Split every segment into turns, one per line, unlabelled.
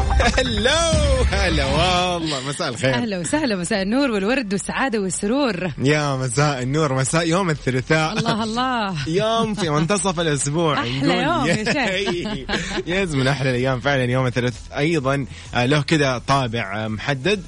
هلا هلا والله مساء الخير
اهلا وسهلا مساء النور والورد والسعاده والسرور
يا مساء النور مساء يوم الثلاثاء
الله الله
يوم في منتصف الاسبوع
أحلى
نقول
يوم يا
يا يز من احلى الايام فعلا يوم الثلاثاء ايضا آه، له كذا طابع آه، محدد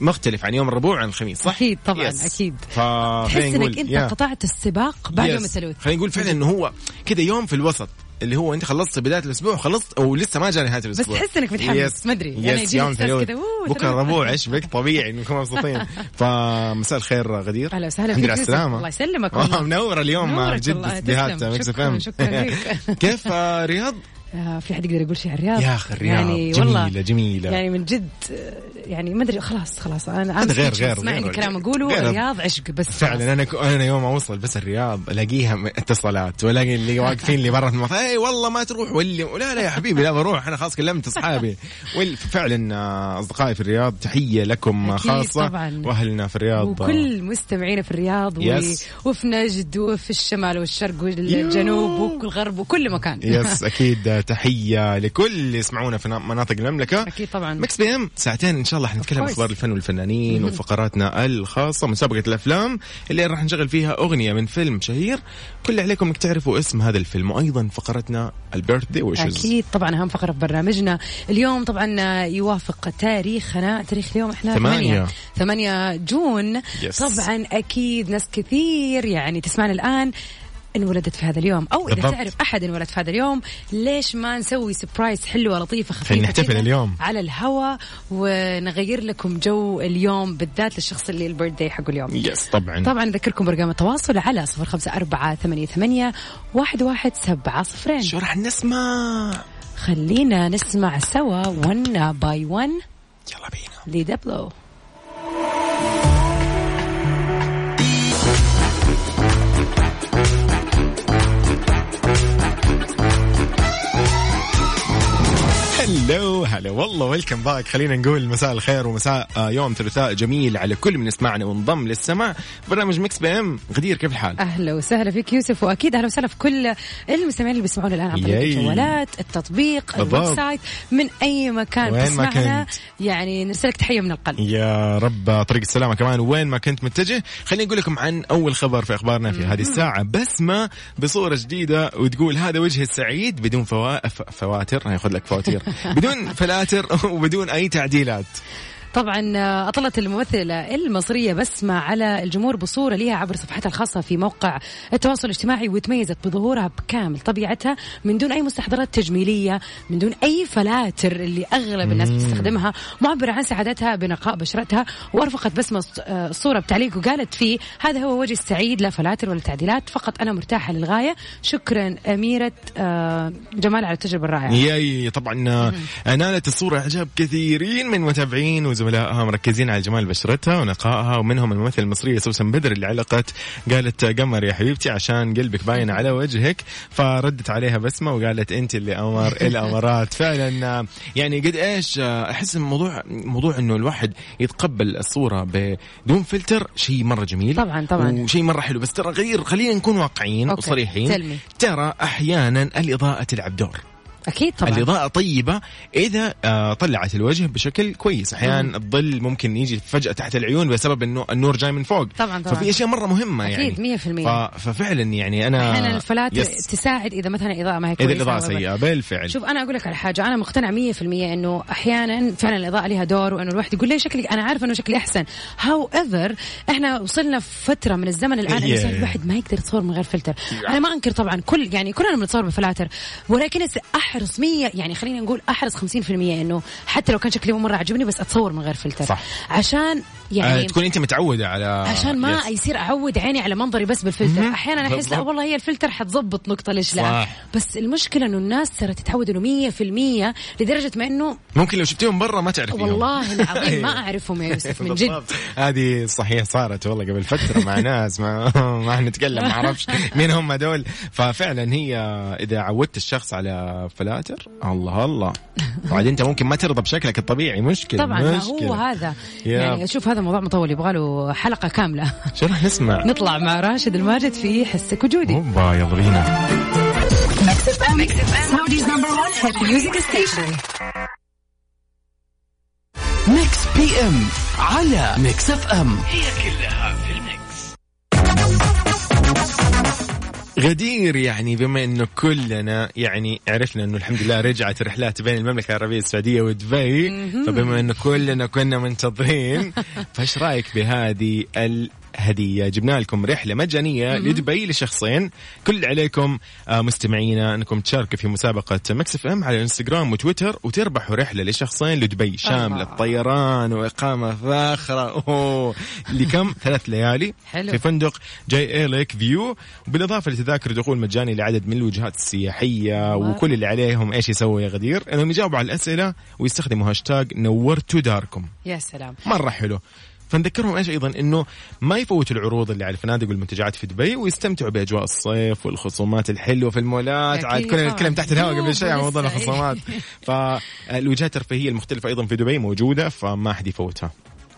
مختلف عن يوم الربوع عن الخميس صح؟
أكيد طبعاً، أكيد. تحس
فخلينا
انك
نقول
انت
يا.
قطعت السباق بعد
يس.
يوم الثلاث
خلينا نقول فعلا انه هو كذا يوم في الوسط اللي هو انت خلصت بدايه الاسبوع وخلصت او لسه ما جاء نهايه الاسبوع
تحس إنك متحمس،
يس.
ما أدري. يعني
يس
يجيني
يوم
إحساس
ثلوث
كذا، أوه،
بكره
ثلوث.
الربوع ايش بك طبيعي انكم مبسوطين فمساء الخير غدير
أهلا وسهلا
الحمد
فيك
لله على
يوسف.
السلامه
الله يسلمك
والله
والله.
منوره اليوم مع
منورك
جد
والله،
استديوهات
تسلم.
ميكس اف
شكراً،
ام
شكراً لك.
كيف آه، رياض
آه، في حد يقدر يقول شيء عن الرياض
يا اخي الرياض جميله جميله
يعني من جد آه، يعني ما ادري خلاص خلاص انا
هذا غير-
speechless.
غير-
ما
غير.
عندي كلام اقوله
غير.
الرياض عشق بس
فعلا انا ك- انا يوم اوصل بس الرياض الاقيها م- اتصالات والاقي اللي واقفين لي برا في المطار اي والله ما تروح واللي لا لا يا حبيبي لا بروح انا خلاص كلمت اصحابي وال- فعلا آه، اصدقائي في الرياض تحيه لكم
أكيد
خاصه
طبعاً.
واهلنا في الرياض
وكل مستمعينا في الرياض و...
يس.
وفي نجد وفي الشمال والشرق والجنوب وكل الغرب وكل مكان
يس اكيد آه، تحيه لكل اللي يسمعونا في مناطق المملكه
اكيد طبعا
مكس بي ام ساعتين ان شاء الله حنتكلم
Of course.
اخبار الفن والفنانين وفقراتنا الخاصه مسابقه الافلام اللي راح نشغل فيها اغنيه من فيلم شهير كل اللي عليكم انك تعرفوا اسم هذا الفيلم وايضا فقرتنا البيرث داي ويشز
اكيد طبعا اهم فقره في برنامجنا اليوم طبعا يوافق تاريخنا تاريخ اليوم احنا
ثمانية.
8 8 جون
Yes.
طبعا اكيد ناس كثير يعني تسمعنا الان انولدت في هذا اليوم او اذا
بالضبط.
تعرف احد انولد في هذا اليوم ليش ما نسوي سبرايز حلوه لطيفه خفيفه
خلينا نحتفل
كده
اليوم.
على الهوا ونغير لكم جو اليوم بالذات للشخص اللي البيرثداي حقه اليوم
يس طبعا
طبعا نذكركم برقم التواصل على صفر خمسة أربعة ثمانية ثمانية واحد واحد سبعة صفرين
شو راح نسمع
خلينا نسمع سوا ون باي ون
يلا بينا
لدبلو
هلو هلا والله ويلكم باك خلينا نقول مساء الخير ومساء آه، يوم ثلاثاء جميل على كل من يسمعنا وانضم للسماع برنامج مكس بي ام غدير كيف الحال؟
اهلا وسهلا فيك يوسف واكيد اهلا وسهلا في كل المستمعين اللي بيسمعونا الان عن طريق
ياي.
الجوالات التطبيق
بالضبط.
الويب سايت من اي مكان
وين ما
بتسمعنا
كنت.
يعني نرسلك تحيه من القلب
يا رب طريق السلامة كمان وين ما كنت متجه خليني أقول لكم عن أول خبر في أخبارنا في هذه الساعة بسمة بصورة جديدة وتقول هذا وجه السعيد بدون فوا... ف- فواتر هياخذ لك فواتير بدون فلاتر وبدون أي تعديلات
طبعا اطلت الممثله المصريه بسمه على الجمهور بصوره لها عبر صفحتها الخاصه في موقع التواصل الاجتماعي وتميزت بظهورها بكامل طبيعتها من دون اي مستحضرات تجميليه من دون اي فلاتر اللي اغلب الناس بتستخدمها معبره عن سعادتها بنقاء بشرتها وارفقت بسمه الص- آه، الصوره بتعليق وقالت فيه هذا هو وجه السعيد لا فلاتر ولا تعديلات فقط انا مرتاحه للغايه شكرا اميره آه، جمال على التجربه الرائعه
ياي طبعا آه، نالت الصورة إعجاب كثيرين من متابعين وزملائها مركزين على جمال بشرتها ونقائها ومنهم الممثلة المصرية سوسن بدر اللي علقت قالت آه، قمر يا حبيبتي عشان قلبك باين على وجهك فردت عليها بسمة وقالت أنت اللي أمر الأمارات فعلا آه، يعني قد إيش آه، أحس الموضوع موضوع إنه الواحد يتقبل الصورة بدون فلتر شيء مرة جميل
طبعاً، طبعاً.
وشيء مرة حلو بس ترى غير خلينا نكون واقعيين
أوكي. tell
وصريحين
me.
ترى أحيانا الإضاءة تلعب دور
اكيد طبعا
الإضاءة طيبة إذا آه، طلعت الوجه بشكل كويس أحيانا الظل ممكن يجي فجأة تحت العيون بسبب إنه النور جاي من فوق
طبعاً، طبعاً.
ففي أشياء مرة مهمة يعني
أكيد، 100%.
ف- ففعلا يعني أنا
احيانا الفلاتر
يس.
تساعد اذا مثلا الاضاءه ما هي
إذا
كويسه
الإضاءة
أو whatever.
سيئة بالفعل
شوف انا اقول لك على حاجه انا مقتنعه 100% انه احيانا فعلا الاضاءه لها دور وانه الواحد يقول ليه شكلي انا عارف انه شكلي احسن هاو ايفر احنا وصلنا في فتره من الزمن الان
Yeah.
yeah. الواحد ما يقدر يتصور من غير فلتر انا ما انكر طبعا كل يعني كلنا بنتصور بفلاتر ولكن لسه احرص 100 يعني خلينا نقول احرص 50% انه حتى لو كان شكلي مو مره عجبني بس اتصور من غير فلتر
صح.
عشان يعني
آه، تكون أنت متعودة على
عشان ما
يس.
يصير اعود عيني على منظري بس بالفلتر احيانا احس لا
بالضبط.
والله هي الفلتر حتظبط نقطه ليش لا
صح.
بس المشكله انه الناس صارت تتعود انه 100% لدرجه ما انه
ممكن لو شفتيهم برا ما تعرفيهم
والله العظيم ما
أيوة.
اعرفهم يا يوسف من جد
بالضبط. هذه صحيح صارت والله قبل فتره مع ناس ما ما نتكلم ما اعرفش مين هم دول ففعلا هي اذا عودت الشخص على فلاتر الله الله وبعدين انت ممكن ما ترضى بشكلك الطبيعي مشكله
طبعا ما
مشكلة.
هو هذا
يا.
يعني اشوف هذا موضوع مطول يبغى له حلقه كامله
شو راح نسمع؟
نطلع مع راشد الماجد في حسك وجودي
اوبا يلا بينا
Saudi's number one hit music station. ميكس بي ام على ميكس اف ام هي
غدير يعني بما انه كلنا يعني عرفنا انه الحمد لله رجعت الرحلات بين المملكه العربيه السعوديه ودبي فبما انه كلنا كنا منتظرين فايش رايك بهذه الهديه جبنا لكم رحله مجانيه لدبي لشخصين كل اللي عليكم آه، مستمعينا انكم تشاركوا في مسابقه مكس اف ام على الانستغرام وتويتر وتربحوا رحله لشخصين لدبي شامله
آه.
طيران واقامه فاخره أوه. لكم ثلاث ليالي
حلو.
في فندق جاي اي ليك فيو بالاضافه لتذاكر دخول مجاني لعدد من الوجهات السياحيه
واو.
وكل اللي عليهم ايش يسوي يا غدير انهم يجاوبوا على الاسئله ويستخدموا هاشتاج نورتوا داركم
يا سلام
مره حلو فنذكرهم ايش ايضا انه ما يفوتوا العروض اللي على الفنادق والمنتجعات في دبي ويستمتعوا باجواء الصيف والخصومات الحلوه في المولات
أكيد
عاد كنا نتكلم
طبعاً.
تحت الهواء
يوه،
قبل شوي عن موضوع
لسه. إيه.
الخصومات فالوجهات الترفيهيه المختلفه ايضا في دبي موجوده فما حد يفوتها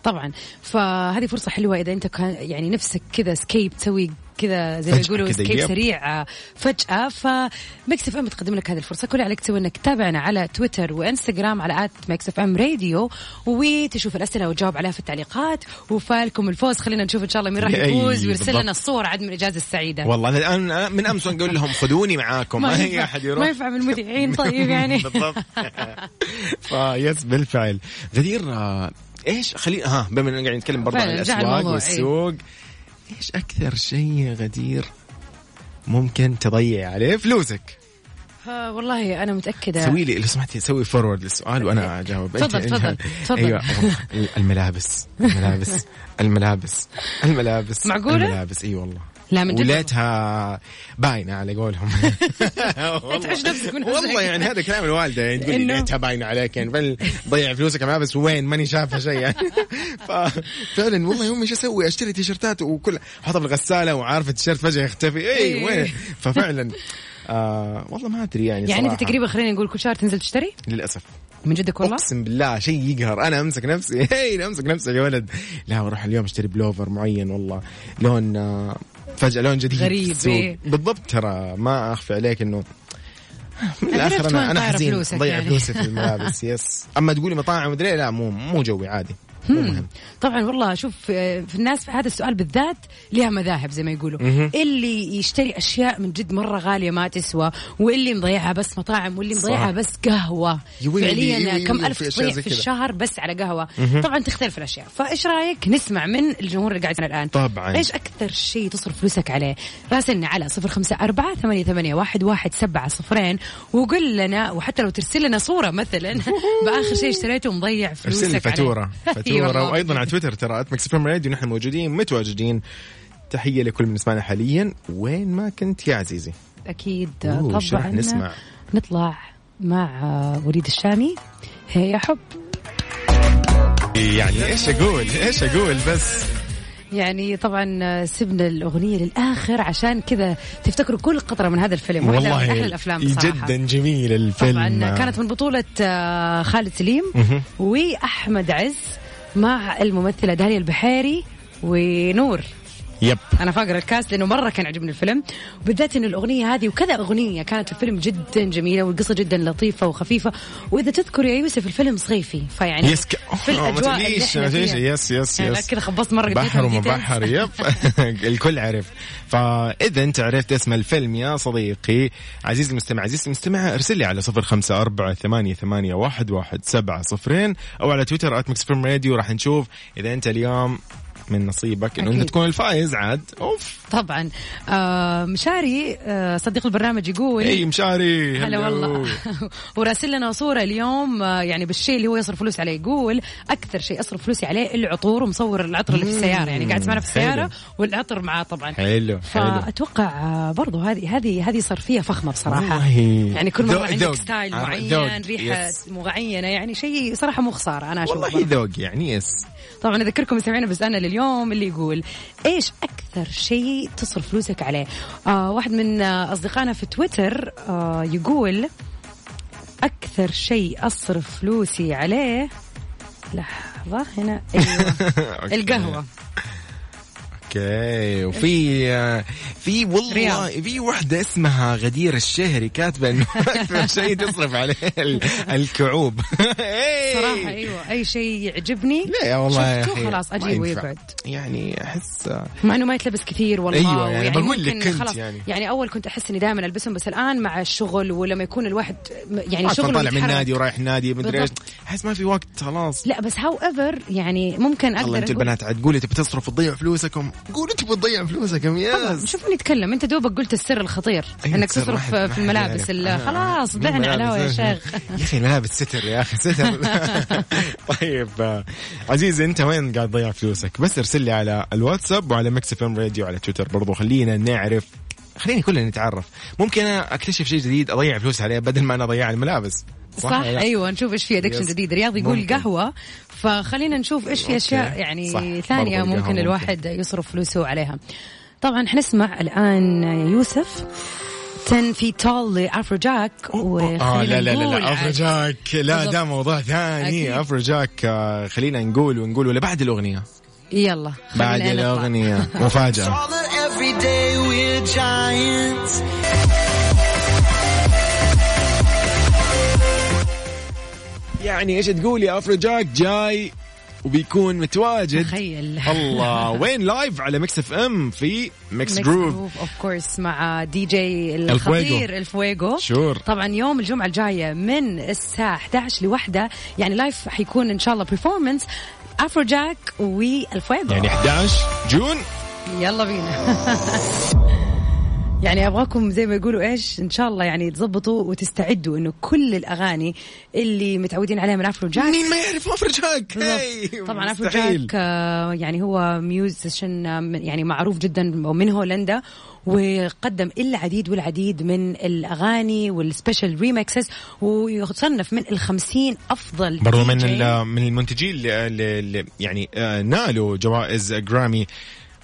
طبعا فهذه فرصه حلوه اذا انت كان يعني نفسك كذا سكيب تسوي كذا زي ما
فجأة
يقولوا
كذا،
سكيب
يب.
سريع آه، فجأة فميكس اف ام بتقدم لك هذه الفرصة كل اللي عليك تسوي انك تتابعنا على تويتر وانستغرام على ات ميكس اف ام راديو وتشوف الاسئلة وتجاوب عليها في التعليقات وفالكم الفوز خلينا نشوف ان شاء الله مين راح
أي،
يفوز ويرسل
بالضبط.
لنا الصور عاد من الاجازة السعيدة
والله انا الان أنا من امس وانا اقول لهم خذوني معاكم ما هي احد
ينفع
يروح
ما ينفع من المذيعين طيب يعني
بالضبط فيس بالفعل غدير آه، ايش خلي ها بما اننا قاعدين نتكلم برضه عن
فعلاً، رجع
الاسواق
الموضوع، إيه.
والسوق ايش اكثر شيء يا غدير ممكن تضيع عليه فلوسك
آه، والله انا متأكدة
سوي لي لو سمحتي سوي فورورد للسؤال وانا اجاوب
إيه. تفضل،
أنت-
تفضل، تفضل.
ايوه الملابس الملابس الملابس الملابس
معقولة؟
الملابس اي والله
لا، من جد والله.
وليتها باينه على قولهم
تعيش نفسك من
والله
هزك.
يعني هذا كلام الوالده يعني تقول لي
إنه-
ليتها باينه عليك يعني فل ضيع فلوسك على ملابس وين ماني شافها شيء يعني ففعلا والله يوم ايش اسوي اشتري تيشرتات وكل احطها في الغساله وعارف التيشرت فجاه يختفي اي
إيه.
وين ففعلا آه والله ما ادري يعني
يعني انت
صراحة.
تقريبا خلينا نقول كل شهر تنزل تشتري
للاسف
من جدك والله
اقسم بالله شيء يقهر انا امسك نفسي هي امسك نفسي يا ولد لا اروح اليوم اشتري بلوفر معين والله لون آه، فجاه لون جديد في
غريب،
السوق.
إيه.
بالضبط ترى ما اخفي عليك انه من
عرفت
الاخر
وين
انا انا
طايرة
حزين
فلوسك
ضيع
يعني.
فلوسي في الملابس يس اما تقولي مطاعم مدري إيه، لا مو مو جوي عادي مو مهم
طبعا والله شوف آه، في الناس في هذا السؤال بالذات لها مذاهب زي ما يقولوا اللي يشتري اشياء من جد مره غاليه ما تسوى واللي مضيعها بس مطاعم واللي مضيعها بس قهوه
يوي- يوي-
فعليا
يوي-
كم
يوي-
الف
في أشياء
تضيع
زي
في
كذا.
الشهر بس على قهوه طبعا تختلف الاشياء فايش رايك نسمع من الجمهور اللي قاعد الان
طبعاً.
ايش اكثر شيء تصرف فلوسك عليه راسلنا على 054 88 سبعة صفرين وقل لنا وحتى لو ترسل لنا صوره مثلا باخر شيء اشتريته ومضيع فلوسك
ارسل لي
عليه.
فاتوره
أي
فاتوره
والله.
وايضا على تويتر ترى @مكسفم راديو نحن موجودين متواجدين تحيه لكل من يسمعنا حاليا وين ما كنت يا عزيزي
اكيد
أوه،
طبعا
إيش راح نسمع؟
نطلع مع وليد الشامي هي يا حب
يعني ايش اقول ايش اقول بس
يعني طبعا سبنا الاغنيه للاخر عشان كذا تفتكروا كل قطره من هذا الفيلم واحدة
والله
من احلى الافلام بصراحه
جدا جميل الفيلم
طبعا كانت من بطوله آه، خالد سليم واحمد عز مع الممثله داليا البحيري ونور
يب
انا فاقر الكاس لانه مره كان عجبني الفيلم وبالذات انه الاغنيه هذه وكذا اغنيه كانت في الفيلم جدا جميله والقصه جدا لطيفه وخفيفه واذا تذكر يا يوسف الفيلم صيفي فيعني
يس ك...
يعني في الاجواء اللي احنا فيها.
يس يس
يعني
يس
كذا خبصت مره قديت
بحر وما
وديتين.
بحر يب الكل عرف فاذا انت عرفت اسم الفيلم يا صديقي عزيزي المستمع عزيزي المستمع ارسل لي على صفر خمسة أربعة ثمانية, ثمانية واحد, واحد سبعة صفرين او على تويتر ات راديو راح نشوف اذا انت اليوم من نصيبك انه
أكيد.
انت تكون الفايز عاد اوف
طبعا آه مشاري آه صديق البرنامج يقول
اي مشاري
هلا
hello.
والله وراسل لنا صوره اليوم آه، يعني بالشيء اللي هو يصرف فلوس عليه يقول اكثر شيء اصرف فلوسي عليه العطور ومصور العطر اللي في السياره يعني قاعد معنا في
حلو.
السياره والعطر معاه طبعا
حلو حلو
فاتوقع آه، برضو هذه هذه هذه صرفيه فخمه بصراحه
والله.
يعني كل مره
ذوق-
عندك
ذوق.
ستايل
عر-
معين
ذوق.
ريحه
يس.
معينه يعني شيء صراحه مو خساره انا اشوف
والله ذوق يعني يس
طبعا اذكركم مستمعينا بس انا لليوم اللي يقول ايش اكثر شيء تصرف فلوسك عليه آه واحد من آه، اصدقائنا في تويتر آه يقول اكثر شيء اصرف فلوسي أيوة. عليه لحظه هنا ايوه القهوه
اوكي وفي آه، في والله
رياض.
في وحده اسمها غدير الشهري كاتبه انه اكثر شيء تصرف عليه ال- الكعوب إيه.
صراحه ايوه اي شيء يعجبني
لا يا والله يا
شفته
أخي،
خلاص
ما
اجيبه
ينفع.
ويبعد
يعني احس آه،
مع انه ما يتلبس كثير والله
أيوة، يعني
ويعني
بقول لك
ممكن
كنت
خلاص
يعني.
يعني اول كنت احس اني دائما البسهم بس الان مع الشغل ولما يكون الواحد يعني
عشان
شغله
طالع من
يتحرك.
نادي ورايح نادي مدري ايش
بالضبط.
احس ما في وقت خلاص
لا بس هاو ايفر يعني ممكن
والله
اقدر
انتوا
أقول-
البنات عاد تقولي تبي تصرف وتضيع فلوسكم قولوا تبي تضيع فلوسكم
طبعاً،
يس
شوفوا نتكلم انت دوبك قلت السر الخطير
أيوة،
انك
تصير ما
تصرف
حد- ما
في
حد
الملابس
يعرف.
ال-
آه،
خلاص
مو
بعنا
ملابس.
علاوه يا شيخ
يا اخي الملابس ستر يا اخي ستر طيب آه، عزيزي انت وين قاعد تضيع فلوسك بس ارسل لي على الواتساب وعلى مكس اف ام راديو على تويتر برضو خلينا نعرف خليني كلنا نتعرف ممكن انا اكتشف شيء جديد اضيع فلوس عليه بدل ما انا اضيع على الملابس
صح,
ولا لا؟
ايوه نشوف ايش في ادكشن
أيوة. يس.
جديد رياض يقول
ممكن.
قهوه فخلينا نشوف ايش في
أوكي.
اشياء يعني
صح، برضو
ثانيه
القهوة
ممكن
ممكن.
الواحد يصرف فلوسه عليها طبعا حنسمع الان يوسف 10 في تول لافروجاك
اه
وخلينا
لا لا لا,
نقول
لا
عاد-
افرجاك لا
بالضبط.
ده موضوع ثاني
أكيد.
افرجاك آه، خلينا نقول ونقول ولا بعد الاغنيه
يلا خلينا
بعد
نطلع.
الاغنيه مفاجاه
All that every day we're giants.
يعني ايش تقول يا افرجاك جاي وبيكون متواجد
تخيل
الله وين لايف على ميكس اف ام في ميكس جروف
اوف كورس مع دي جي
الفويجو.
الخطير الفويجو
شور.
طبعا يوم الجمعه الجايه من الساعه 11 لوحده يعني لايف حيكون ان شاء الله برفورمانس افرو جاك والفويجو
يعني 11 جون
يلا بينا يعني ابغاكم زي ما يقولوا ايش ان شاء الله يعني تظبطوا وتستعدوا انه كل الاغاني اللي متعودين عليها من افرو جاك
مين ما يعرف افرجاك هاي،
بالضبط. طبعا افرو
إيه، مستحيل.
جاك آه، يعني هو ميوزيشن آه، من- يعني معروف جدا ومن هولندا وقدم العديد والعديد من الأغاني والسبيشال ريمكسز ويصنف من الخمسين أفضل
برضو من
DJ.
ال- من المنتجين اللي, اللي- اللي يعني آه، نالوا جوائز جرامي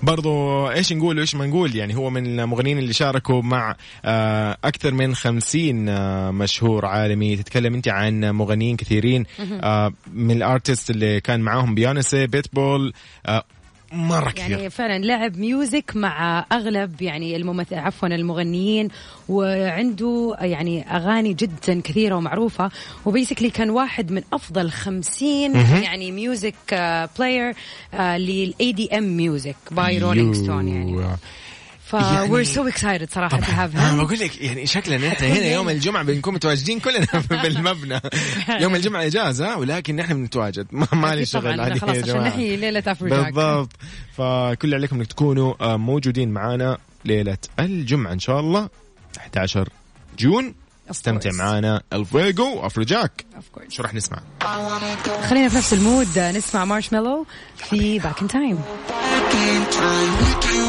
برضو ايش نقول وايش ما نقول يعني هو من المغنيين اللي شاركوا مع آه، اكثر من خمسين آه، مشهور عالمي تتكلم انت عن مغنيين كثيرين آه، من الارتست اللي كان معاهم بيونسي بيتبول آه، مره كثير
يعني فعلا لعب ميوزك مع اغلب يعني الممثل عفوا المغنيين وعنده يعني اغاني جدا كثيره ومعروفه وبيسكلي كان واحد من افضل خمسين يعني ميوزك بلاير آه، للاي دي ام ميوزك باي رولينج ستون يعني
يو.
ف
أيوه. يعني-
وير سو اكسايتد صراحه تو هاف
انا بقول لك يعني شكلنا انت هنا يوم الجمعه بنكون متواجدين كلنا بالمبنى يوم الجمعه اجازه ولكن نحن بنتواجد ما ما لي
أكيد طبعاً،
شغل
أنا
عادي
خلاص
يا
عشان
جماعة.
نحيي ليلة أفرو جاك.
بالضبط فكل اللي عليكم انك تكونوا آه، موجودين معنا ليله الجمعه ان شاء الله 11 جون استمتع
course.
معنا الفويجو وافرجاك شو راح نسمع؟
خلينا في نفس المود نسمع مارشميلو في باك ان تايم
Back in time with you,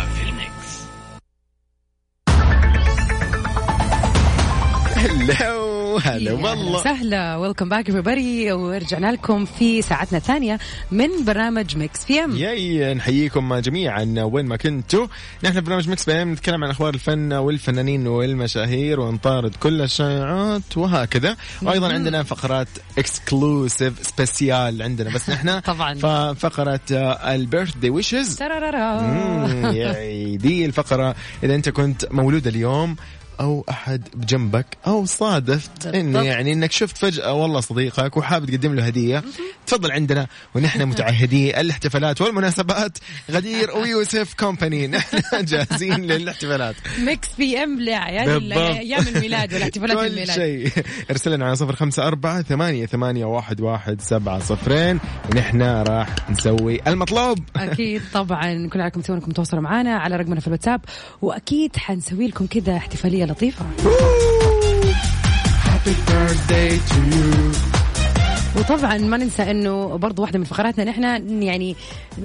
هلو هلا والله
سهلة ويلكم باك everybody ورجعنا لكم في ساعتنا الثانية من برنامج ميكس في ام
ياي نحييكم جميعا وين ما كنتوا نحن في برنامج مكس بي نتكلم عن اخبار الفن والفنانين والمشاهير ونطارد كل الشائعات وهكذا وايضا عندنا فقرات اكسكلوسيف سبيسيال عندنا بس نحن آه،
طبعاً.
ففقره البيرث داي ويشز
ترارارا.
يعني دي الفقرة إذا أنت كنت مولود اليوم أو أحد بجنبك أو صادفت إنه
بالضبط.
يعني إنك شفت فجأة والله صديقك وحابب تقدم له هدية تفضل عندنا ونحن متعهدي الاحتفالات والمناسبات غدير ويوسف كومباني نحن جاهزين للاحتفالات
ميكس بي ام لأعياد
بالضبط.
ايام الميلاد والاحتفالات
كل
الميلاد
شيء ارسل لنا على صفر خمسة أربعة ثمانية ثمانية واحد واحد سبعة صفرين ونحن راح نسوي المطلوب
اكيد طبعا كل عليكم تسوون انكم تواصلوا معنا على رقمنا في الواتساب واكيد حنسوي لكم كذا احتفاليه لطيفه
Happy birthday to you
وطبعا ما ننسى انه برضو واحده من فقراتنا نحن يعني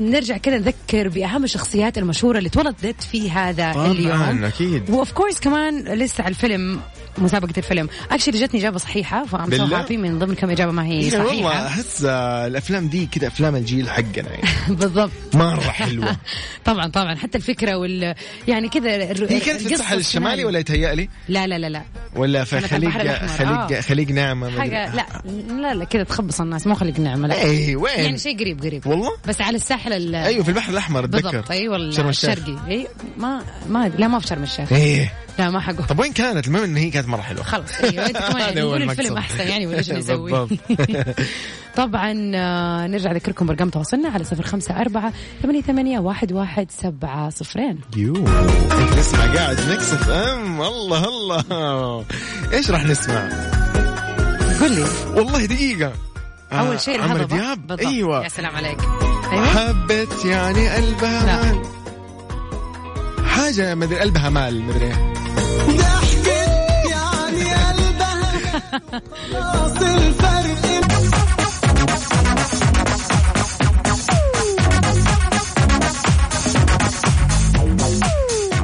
نرجع كذا نذكر باهم الشخصيات المشهوره اللي اتولدت في هذا
طبعاً،
اليوم
أكيد.
واوف كورس كمان لسه على الفيلم مسابقه الفيلم اكشلي جتني اجابه صحيحه فام سو
بالله؟
هابي من ضمن كم اجابه ما هي
إيه والله
صحيحه
احس آه، الافلام دي كذا افلام الجيل حقنا يعني
بالضبط
مره حلوه
طبعا طبعا حتى الفكره وال يعني كذا الر-
هي كانت في
القصة
الساحل الشمالي
الشمالية.
ولا يتهيألي
لا لا لا لا
ولا في
كانت على
خليج
البحر الأحمر.
خليج
آه.
خليج نعمه ما أدري.
حاجه
إيه.
لا لا لا كذا تخبص الناس مو خليك نعمه لا
اي وين
يعني شيء قريب قريب
والله
بس على الساحل ال-
ايوه في البحر الاحمر اتذكر
بالضبط ايوه ال-
شرم الشيخ.
الشرقي اي ما ما لا ما في شرم الشيخ
ايه
لا ما حقه
طب وين كانت المهم ان هي كانت مره حلوه
خلاص ايوه انت كمان يعني
هذا هو
نقول
المقصد.
الفيلم احسن يعني ولا ايش نسوي
بالضبط.
طبعا آه، نرجع اذكركم برقم تواصلنا على صفر خمسة أربعة ثمانية ثمانية واحد واحد سبعة صفرين
يو انت نسمع قاعد ميكس اف ام الله الله ايش راح نسمع؟
قل لي
والله دقيقه آه،
أول شيء
عمرو
الهضبة
دياب
بالضبط. يا
ايوه
سلام عليك أيوة
حبت يعني قلبها
لا.
حاجه مدري قلبها مال مدري إيه.
ضحكت يعني قلبها خلاص الفرق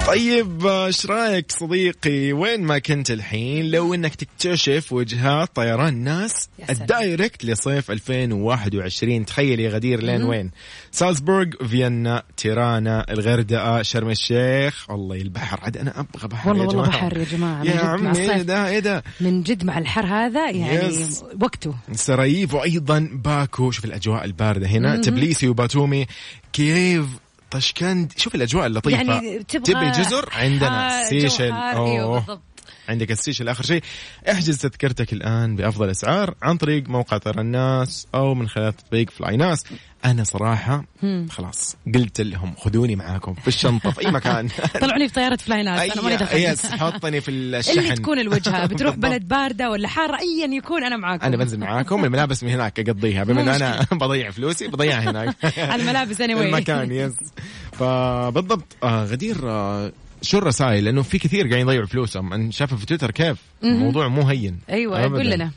طيب آه، ايش رايك صديقي وين ما كنت الحين لو انك تكتشف وجهات طيران ناس
يا سلام.
الدايركت لصيف 2021 تخيل يا غدير لين وين سالزبورغ فيينا تيرانا الغردقه شرم الشيخ والله البحر عاد انا ابغى بحر
والله
يا
والله
جماعه
بحر يا جماعة، من
يا
جد مع
عمي ايه
الصيف.
ده ايه ده
من جد مع الحر هذا يعني
يس.
وقته
سراييف وايضا باكو شوف الاجواء البارده هنا تبليسي وباتومي كييف طشكند شوف الاجواء اللطيفه
يعني تبغى
طيب، آه، تبي جزر عندنا
حار-
سيشل
جو حار، ايوه بالضبط
عندك السيشل اخر شيء احجز تذكرتك الان بافضل اسعار عن طريق موقع ترى الناس او من خلال تطبيق فلاي ناس انا صراحه خلاص قلت لهم خذوني معاكم في الشنطه في اي مكان
طلعوني في طيارة فلاينات أنا ماني
أي- يس
دخل
حطني في الشحن
اللي تكون الوجهة بتروح
بالضبط.
بلد باردة ولا حارة أيا يكون أنا معاكم
انا بنزل معاكم الملابس من هناك اقضيها بما
مو
انه انا بضيع فلوسي بضيعها هناك
الملابس anyway.
المكان يس فبالضبط آه غدير آه شو الرسائل لانه في كثير قاعدين يضيعوا فلوسهم انا شافه في تويتر كيف الموضوع مو هين
أيوة،
أبداً.
قول لنا.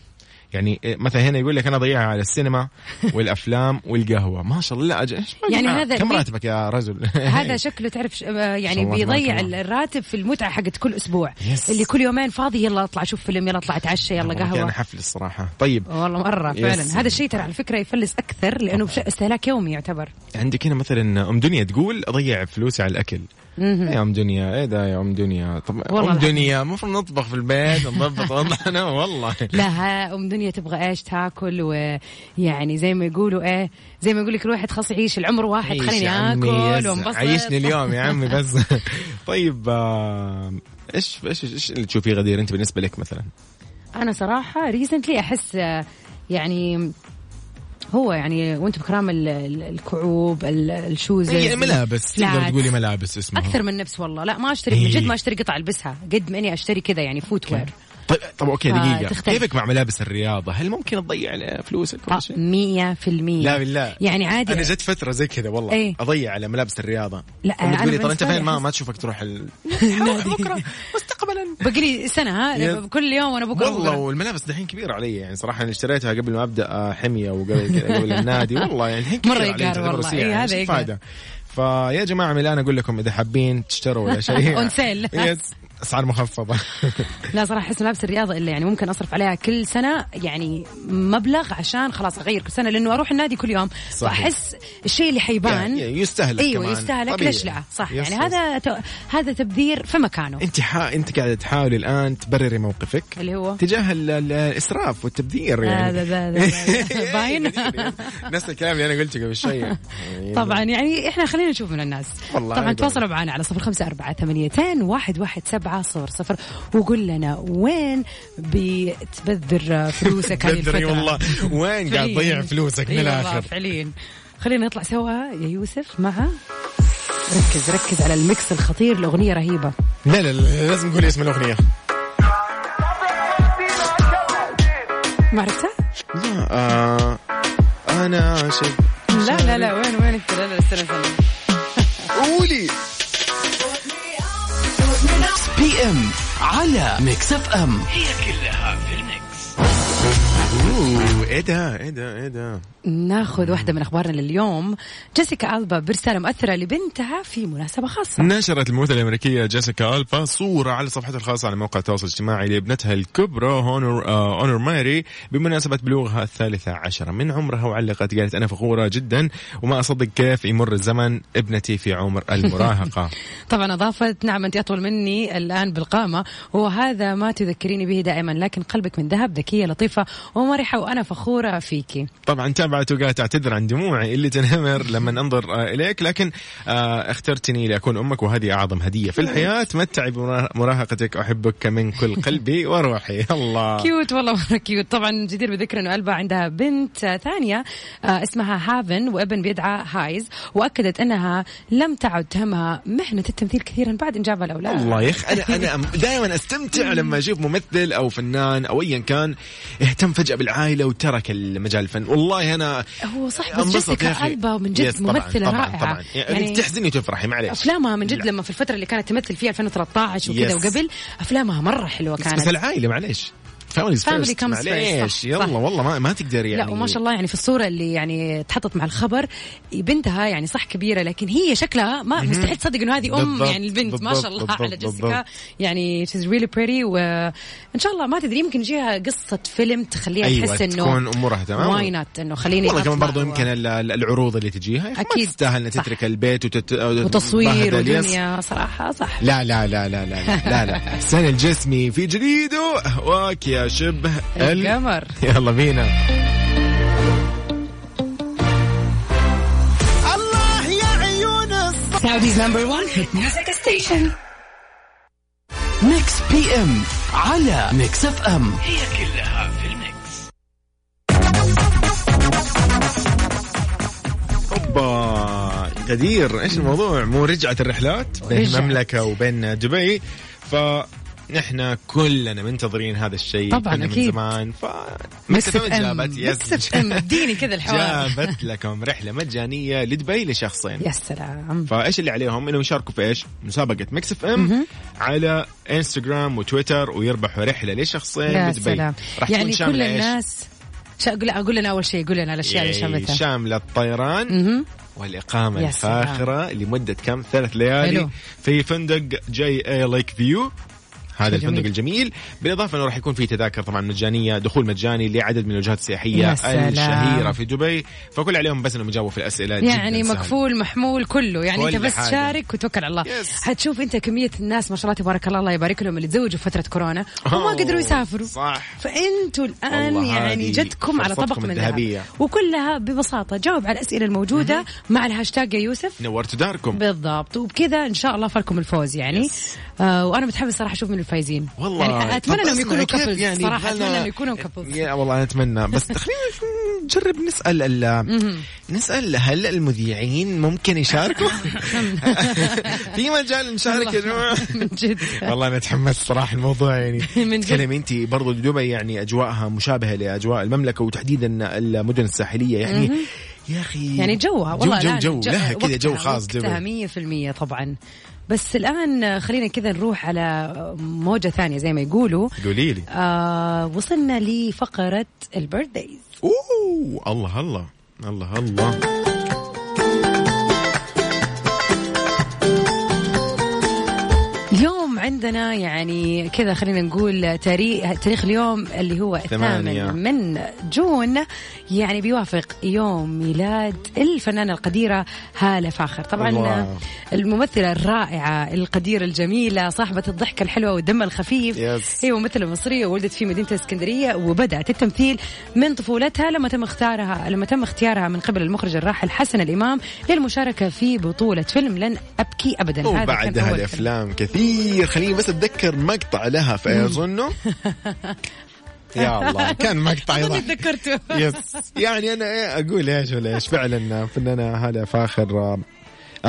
يعني آه، مثلا هنا يقول لك انا اضيعها على السينما والافلام والقهوه ما شاء الله لا أج... إيش ما-
يعني هذا
كم
في-
راتبك يا رجل
هذا شكله تعرف ش- آه، يعني
الله، تبارك
بيضيع
الله.
الراتب في المتعه حقت كل اسبوع
يس.
اللي كل يومين فاضي يلا اطلع اشوف فيلم يلا اطلع اتعشى يلا
والله
قهوه
انا حفل الصراحه طيب
والله مره
يس.
فعلا هذا الشيء ترى على فكره يفلس اكثر لانه بش- استهلاك يومي يعتبر
عندك هنا مثلا ام دنيا تقول اضيع فلوسي على الاكل يا ام دنيا ايه ده يا ام دنيا طب
والله
ام
الحمد.
دنيا المفروض نطبخ في البيت نضبط وضعنا والله
لا ها ام دنيا تبغى ايش تاكل ويعني زي ما يقولوا ايه زي ما يقول لك الواحد خلاص يعيش العمر واحد
عيش
خليني
يا عمي،
اكل
يس.
وانبسط
عيشني اليوم يا عمي بس طيب آه، ايش ايش ايش اللي تشوفيه غدير انت بالنسبه لك مثلا؟
انا صراحه ريسنتلي احس آه، يعني هو يعني وانت بكرام ال- ال- الكعوب ال- الشوز
يعني ملابس تقدر
flats.
تقولي ملابس اسمها
اكثر من نفس والله لا ما اشتري من
إيه.
جد ما اشتري قطع البسها قد ما اني اشتري كذا يعني فوت وير
طيب طب
آه،
اوكي دقيقه
فتختلف.
كيفك مع ملابس الرياضه؟ هل ممكن تضيع
آه،
فلوسك ولا شيء؟
100%
لا بالله
يعني
انا
عادي
جت فتره زي كذا والله
إيه.
اضيع على ملابس الرياضه
لا،
أم
أنا
تقولي طب انت
بالنسبة لي
فين ما
أحس-
ما تشوفك تروح ال...
بكره
مستقبلا
بقلي سنه ها
يس.
كل يوم وانا بكره
والله
والله
والملابس دحين كبيره علي يعني صراحه انا اشتريتها قبل ما ابدا آه، حميه وقبل كده قبل النادي والله يعني الحين
مرة
كبيره علي
يقهر
تعتبر
والله.
وسيعة،
إيه،
يعني
هذا
شو
يقهر.
الفائده فيا جماعه من الان اقول لكم اذا حابين تشتروا ولا شيء
On sale.
يس اسعار مخفضه
لا صراحه احس ملابس الرياضه الا يعني ممكن اصرف عليها كل سنه يعني مبلغ عشان خلاص اغير كل سنه لانه اروح النادي كل يوم
صحيح.
فاحس الشيء اللي حيبان
يعني يستهلك
ايوه
كمان.
يستهلك
طبيعي.
ليش لا صح
يس،
يعني
يس.
هذا ت- هذا تبذير في مكانه
انت حا... انت قاعده تحاولي الان تبرري موقفك
اللي هو؟
تجاه ال... ال... الاسراف والتبذير يعني
أيوة. هذا- هذا- هذا. باين؟
نفس الكلام اللي انا قلته قبل شوي
طبعا يعني احنا خلينا نشوف من الناس
والله
طبعا
أنا
تواصلوا معنا على صفر خمسة أربعة ثمانيتين واحد واحد سبعة صفر صفر وقول لنا وين بتبذر فلوسك هذه
تبذري
الفترة
والله وين قاعد
فعلياً.
تضيع فلوسك من
إي والله
الاخر
فعليا خلينا نطلع سوا يا يوسف مع ركز ركز على الميكس الخطير الأغنية رهيبة
لا لا لا لازم نقول اسم الاغنيه
ما عرفتها؟
لا آه انا عاشق
لا لا لا وين وين انت لا لا استنى استنى
قولي
ميكس بي ام على ميكس اف ام هي كلها في الميكس
اوه ايه ده ايه ده ايه ده
ناخذ واحدة من أخبارنا لليوم جيسيكا ألبا برسالة مؤثرة لبنتها في مناسبة خاصة
نشرت الممثلة الأمريكية جيسيكا ألفا صورة على صفحتها الخاصة على موقع التواصل الاجتماعي لابنتها الكبرى هونر آه هونر ماري بمناسبة بلوغها الثالثة عشرة من عمرها وعلقت قالت أنا فخورة جدا وما أصدق كيف يمر الزمن ابنتي في عمر المراهقة
طبعا أضافت نعم أنت أطول مني الآن بالقامة وهذا ما تذكريني به دائما لكن قلبك من ذهب ذكية لطيفة ومرحة وأنا فخورة فيكي
طبعا تابعته وقالت أعتذر عن دموعي اللي تنهمر لما أنظر آه، إليك لكن آه، اخترتني لأكون أمك وهذه أعظم هدية في الحياة تمتعي بمراهقتك أحبك من كل قلبي وروحي الله
كيوت والله مره كيوت طبعا جدير بذكر انه البا عندها بنت آه، ثانيه آه، اسمها هافن وابن بيدعى هايز واكدت انها لم تعد تهمها مهنه التمثيل كثيرا بعد انجابها الاولاد
الله يا اخي انا انا دائما استمتع لما اشوف ممثل او فنان او ايا كان اهتم فجاه بالعائله وترك المجال الفن والله انا
هو صح بس
أنبسط يا
جيسيكا
أخي.
البا من جد
يس، طبعاً،
ممثله
طبعاً
رائعه
طبعا يعني تحزني وتفرحي معليش
افلامها من جد لما في الفتره اللي كانت تمثل فيها 2013 وكذا
Yes.
وقبل افلامها مره حلوه
بس, بس
كانت
العائله معليش فاميلي
Family
فيرست
comes first،
معليش
صح،
يلا
صح.
والله ما ما تقدر يعني
لا وما شاء الله يعني في الصورة اللي يعني تحطت مع الخبر بنتها يعني صح كبيرة لكن هي شكلها ما مستحيل تصدق انه هذه ام
بالضبط،
يعني البنت ما
بالضبط،
شاء الله
بالضبط،
على جيسيكا
بالضبط.
يعني she's really pretty وان شاء الله ما تدري يمكن يجيها قصة فيلم تخليها
أيوة،
تحس انه
تكون أمورها تمام.
واي نوت انه خليني
والله كمان
أطلع
برضو
و-
يمكن ال- ال- العروض اللي تجيها يا أخي ما
أكيد،
تستاهل انها
صح.
تترك البيت وتت...
وتصوير
وتتبهدل، يس.
ودنيا صراحة صح
لا لا لا لا لا لا لا, لا. سنة الجسمي في جديده واك يا شبه ال-
القمر
يلا بينا
Saudi's number one hit music station.
ميكس بي ام على ميكس اف ام
اوبا غدير ايش الموضوع مو رجعت الرحلات بين
رجعت.
المملكه وبين دبي ف نحن كلنا منتظرين هذا الشيء
طبعاً،
كنا من
أكيد.
زمان ف مكس
ميكس
إف إم
إف إم.
جابت يس.
ميكس إف إم. اديني كذا الحوار.
جابت لكم رحله مجانيه لدبي لشخصين
يا سلام
فايش اللي عليهم انهم يشاركوا في ايش؟ مسابقه ميكس اف ام على انستغرام وتويتر ويربحوا رحله لشخصين
يا
لدبي
سلام
راح تكون
يعني كل
شاملة إيش؟
الناس شا- أقول- اقول لنا اول شيء قول لنا الاشياء اللي
إيه،
شاملتها
شامله الطيران
مهم.
والإقامة
يا سلام.
الفاخرة لمدة كم ثلاث ليالي
حلو.
في فندق جي اي ليك فيو هذا
جميل.
الفندق الجميل بالإضافة أنه راح يكون في تذاكر طبعا مجانية دخول مجاني لعدد من الوجهات السياحية
يا سلام.
الشهيرة في دبي فكل عليهم بس أنهم يجاوبوا في الأسئلة
يعني
جداً سهل.
مكفول محمول كله يعني
كل
انت بس
حاجة.
شارك وتوكل على الله
يس.
حتشوف انت كميه الناس ما شاء الله تبارك الله الله يبارك لهم اللي تزوجوا في فتره كورونا وما
أوه،
قدروا يسافروا
صح.
فانتوا الان
والله
يعني
هذه
جدكم على طبق
فرصتكم
من
الذهبية.
ذهب وكلها ببساطه جاوب على الاسئله الموجوده مع الهاشتاج يا يوسف
نورتوا داركم
بالضبط وبكذا ان شاء الله فالكم الفوز يعني آه وانا متحمس صراحه اشوف من الفايزين
والله
يعني اتمنى
طب
انهم
اسمع
يكونوا
كيف
كابلز يعني صراحه
يبغالنا-
اتمنى انهم
إيه،
يكونوا كابلز
يا والله انا اتمنى بس خلينا نشوف- نجرب نسال ال- نسال هل المذيعين ممكن يشاركوا؟ في مجال نشارك يا جماعه
من جد
والله انا تحمست صراحه الموضوع يعني
من جد.
تكلم انت برضو دبي يعني اجواءها مشابهه لاجواء المملكه وتحديدا المدن الساحليه يعني يا اخي
يعني جوها والله
جو
الآن
جو, جو لها كذا جو
وقتها-
خاص
وقتها
دبي
100% طبعا بس الان خلينا كذا نروح على موجه ثانيه زي ما يقولوا
قولي لي
آه وصلنا لفقره البيرثدايز
اوه الله الله الله الله
اليوم عندنا يعني كذا خلينا نقول تاريخ تاريخ اليوم اللي هو
ثمانية.
الثامن من جون يعني بيوافق يوم ميلاد الفنانة القديرة هالة فاخر طبعا
الله.
الممثلة الرائعة القديرة الجميلة صاحبة الضحكة الحلوة والدم الخفيف
Yes.
هي ممثلة مصرية ولدت في مدينة الاسكندرية وبدأت التمثيل من طفولتها لما تم اختارها لما تم اختيارها من قبل المخرج الراحل حسن الإمام للمشاركة في بطولة فيلم لن أبكي أبدا هذا كان
وبعدها
أول فيلم.
الافلام كثير خليني بس اتذكر مقطع لها في اظنه يا الله كان مقطع
أظني
يضحك
تذكرته
يس يعني انا إيه اقول ايش ولا ايش فعلا فنانه هاله فاخر آه،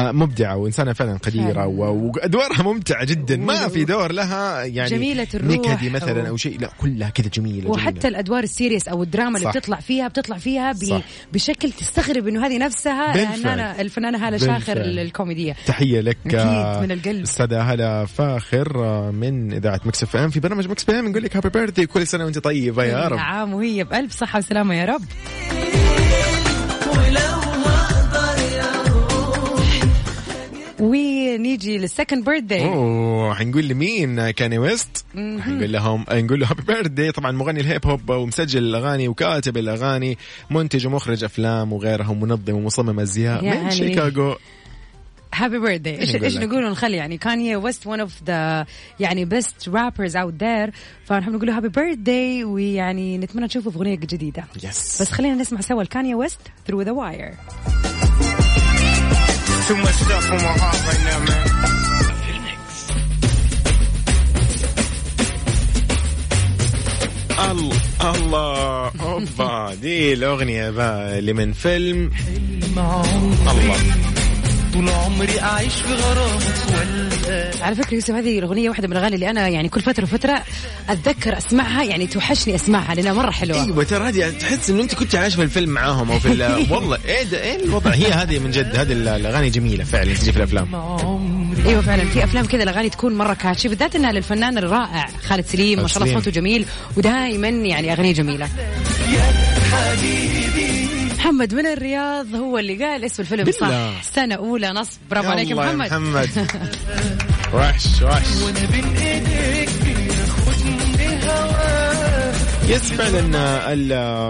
آه، مبدعه وانسانه فعلا قديره
فعلاً.
و- وادوارها ممتعه جدا ما في دور لها يعني
جميلة الروح
نكدي مثلا
أو-
او شيء لا كلها كذا جميله
وحتى الادوار السيريس او الدراما اللي
صح.
بتطلع فيها بتطلع فيها ب...
صح.
بشكل تستغرب انه هذه نفسها
بالفعل.
الفنانه الفنانه هاله
بالفعل.
شاخر ال- الكوميديه
تحية لك
أكيد،
آه،
من القلب.
أستاذة هلا فاخر آه، من إذاعة مكس اف ام في برنامج مكس اف ام نقول لك هابي بيرثدي كل سنة وأنت طيبة يا رب
عام وهي بالف صحه وسلامه يا رب ونيجي للسكند بيرثداي
اوه حنقول لمين كاني ويست حنقول لهم نقول له هابي بيرثدي طبعا مغني الهيب هوب ومسجل الاغاني وكاتب الاغاني منتج ومخرج افلام وغيرها ومنظم ومصمم ازياء من
يعني-
شيكاغو
هابي بيرثداي ايش
نقول
ايش
لك؟
نقول ونخلي يعني كانيا ويست ون اوف ذا يعني بيست رابرز اوت ذير فنحن نقول له هابي بيرثداي ويعني نتمنى نشوفه في اغنيه جديده
يس
بس خلينا نسمع سوا الكانيا ويست ثرو ذا واير
Too much stuff on my heart right now, man.
الله الله اوبا دي الاغنيه بقى اللي من فيلم الله
على فكره يوسف هذه الاغنيه واحده من الاغاني اللي انا يعني كل فتره وفتره اتذكر اسمعها يعني توحشني اسمعها لانها مره حلوه
ايوه ترى هذه تحس انه انت كنت عايش في الفيلم معاهم او في ال- والله ايه ده ايه الوضع هي هذه من جد هذه الاغاني جميله فعلا تجي في الافلام
ايوه فعلا في افلام كذا الاغاني تكون مره كاتشي بالذات انها للفنان الرائع خالد سليم ما شاء الله
سليم.
صوته جميل ودائما يعني اغنيه جميله محمد من الرياض هو اللي قال اسم الفيلم
بالله.
صح سنه اولى نصب برافو عليك يا
يلا يا
محمد
محمد وحش وحش يس فعلا آه،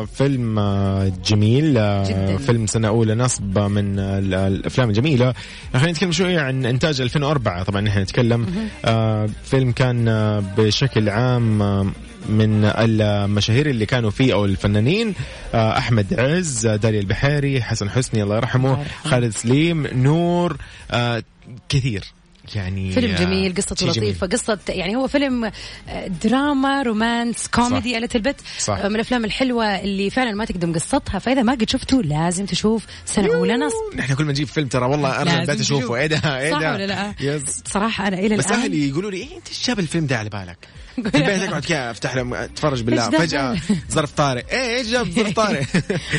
الفيلم آه، جميل آه،
جداً.
فيلم سنة أولى نصب من آه، ال- الأفلام الجميلة خلينا نتكلم شوية عن إنتاج 2004 طبعا نحن نتكلم آه، فيلم كان آه، بشكل عام آه، من المشاهير اللي كانوا فيه او الفنانين آه، احمد عز، آه، داليا البحيري، حسن حسني الله يرحمه، خالد سليم، نور آه، كثير يعني
فيلم
آه،
جميل قصته
شيء جميل.
لطيفة قصة يعني هو فيلم آه، دراما رومانس كوميدي ألت البت
صح.
آه، من الأفلام الحلوة اللي فعلا ما تقدم قصتها فإذا ما قد شفته لازم تشوف سنة أولى نص
نحن كل ما نجيب فيلم ترى والله انا
لازم
بدأت اشوفه
تشوف.
ايه ده ايه
صح
ده
ولا لا؟
يس
صراحة أنا إلى
بس
الآن
اهلي يقولوا لي ايه انت ايش جاب الفيلم ده على بالك؟ في البيت اقعد كذا افتح لهم اتفرج بالله
إيش ده؟
فجاه ظرف طارئ ايه ايش جاب ظرف طارئ؟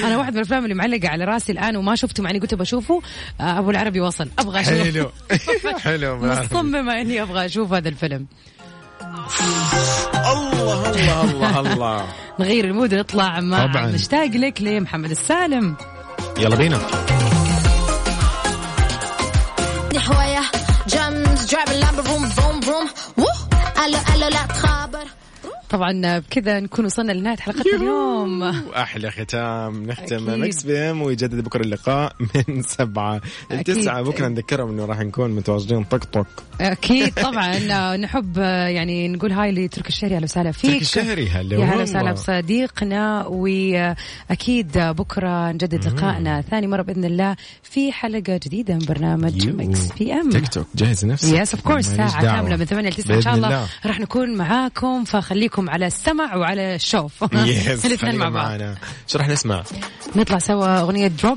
أنا واحد من الأفلام اللي معلقة على راسي الآن وما شفته مع إني قلت بشوفه آه، أبو العربي وصل أبغى أشوفه
حلو. حلو، أبو العربي.
مصممة إني أبغى أشوف هذا الفيلم
الله الله الله الله
نغير المود ونطلع مع
طبعاً.
مشتاق لك لمحمد السالم
يلا بينا
Hoya, drums, driving Lambo, vroom, vroom, vroom. Woo! Allo, allo, la traber.
طبعا بكذا نكون وصلنا لنهاية حلقتنا اليوم
واحلى ختام نختم
أكيد.
مكس بي ام ويجدد بكره اللقاء من سبعة ل
أكيد.
9 بكره نذكرهم انه راح نكون متواجدين طق طق
اكيد طبعا آه، نحب آه، يعني نقول هاي لترك الشهري اهلا وسهلا فيك
ترك الشهري، هلا
يا هلا
والله.
وسهلا بصديقنا واكيد آه، بكره نجدد لقائنا ثاني مره باذن الله في حلقه جديده من برنامج مكس بي ام
تيك توك جهز نفسك
يس اوف كورس
ماليش
ساعة
دعوة.
كاملة من 8 ل 9 ان شاء
بإذن
الله راح نكون معاكم فخليكم على السمع وعلى الشوف
يس
الاثنين
خليكم
مع بعض
معنا. ايش راح نسمع؟
نطلع سوا اغنية دروب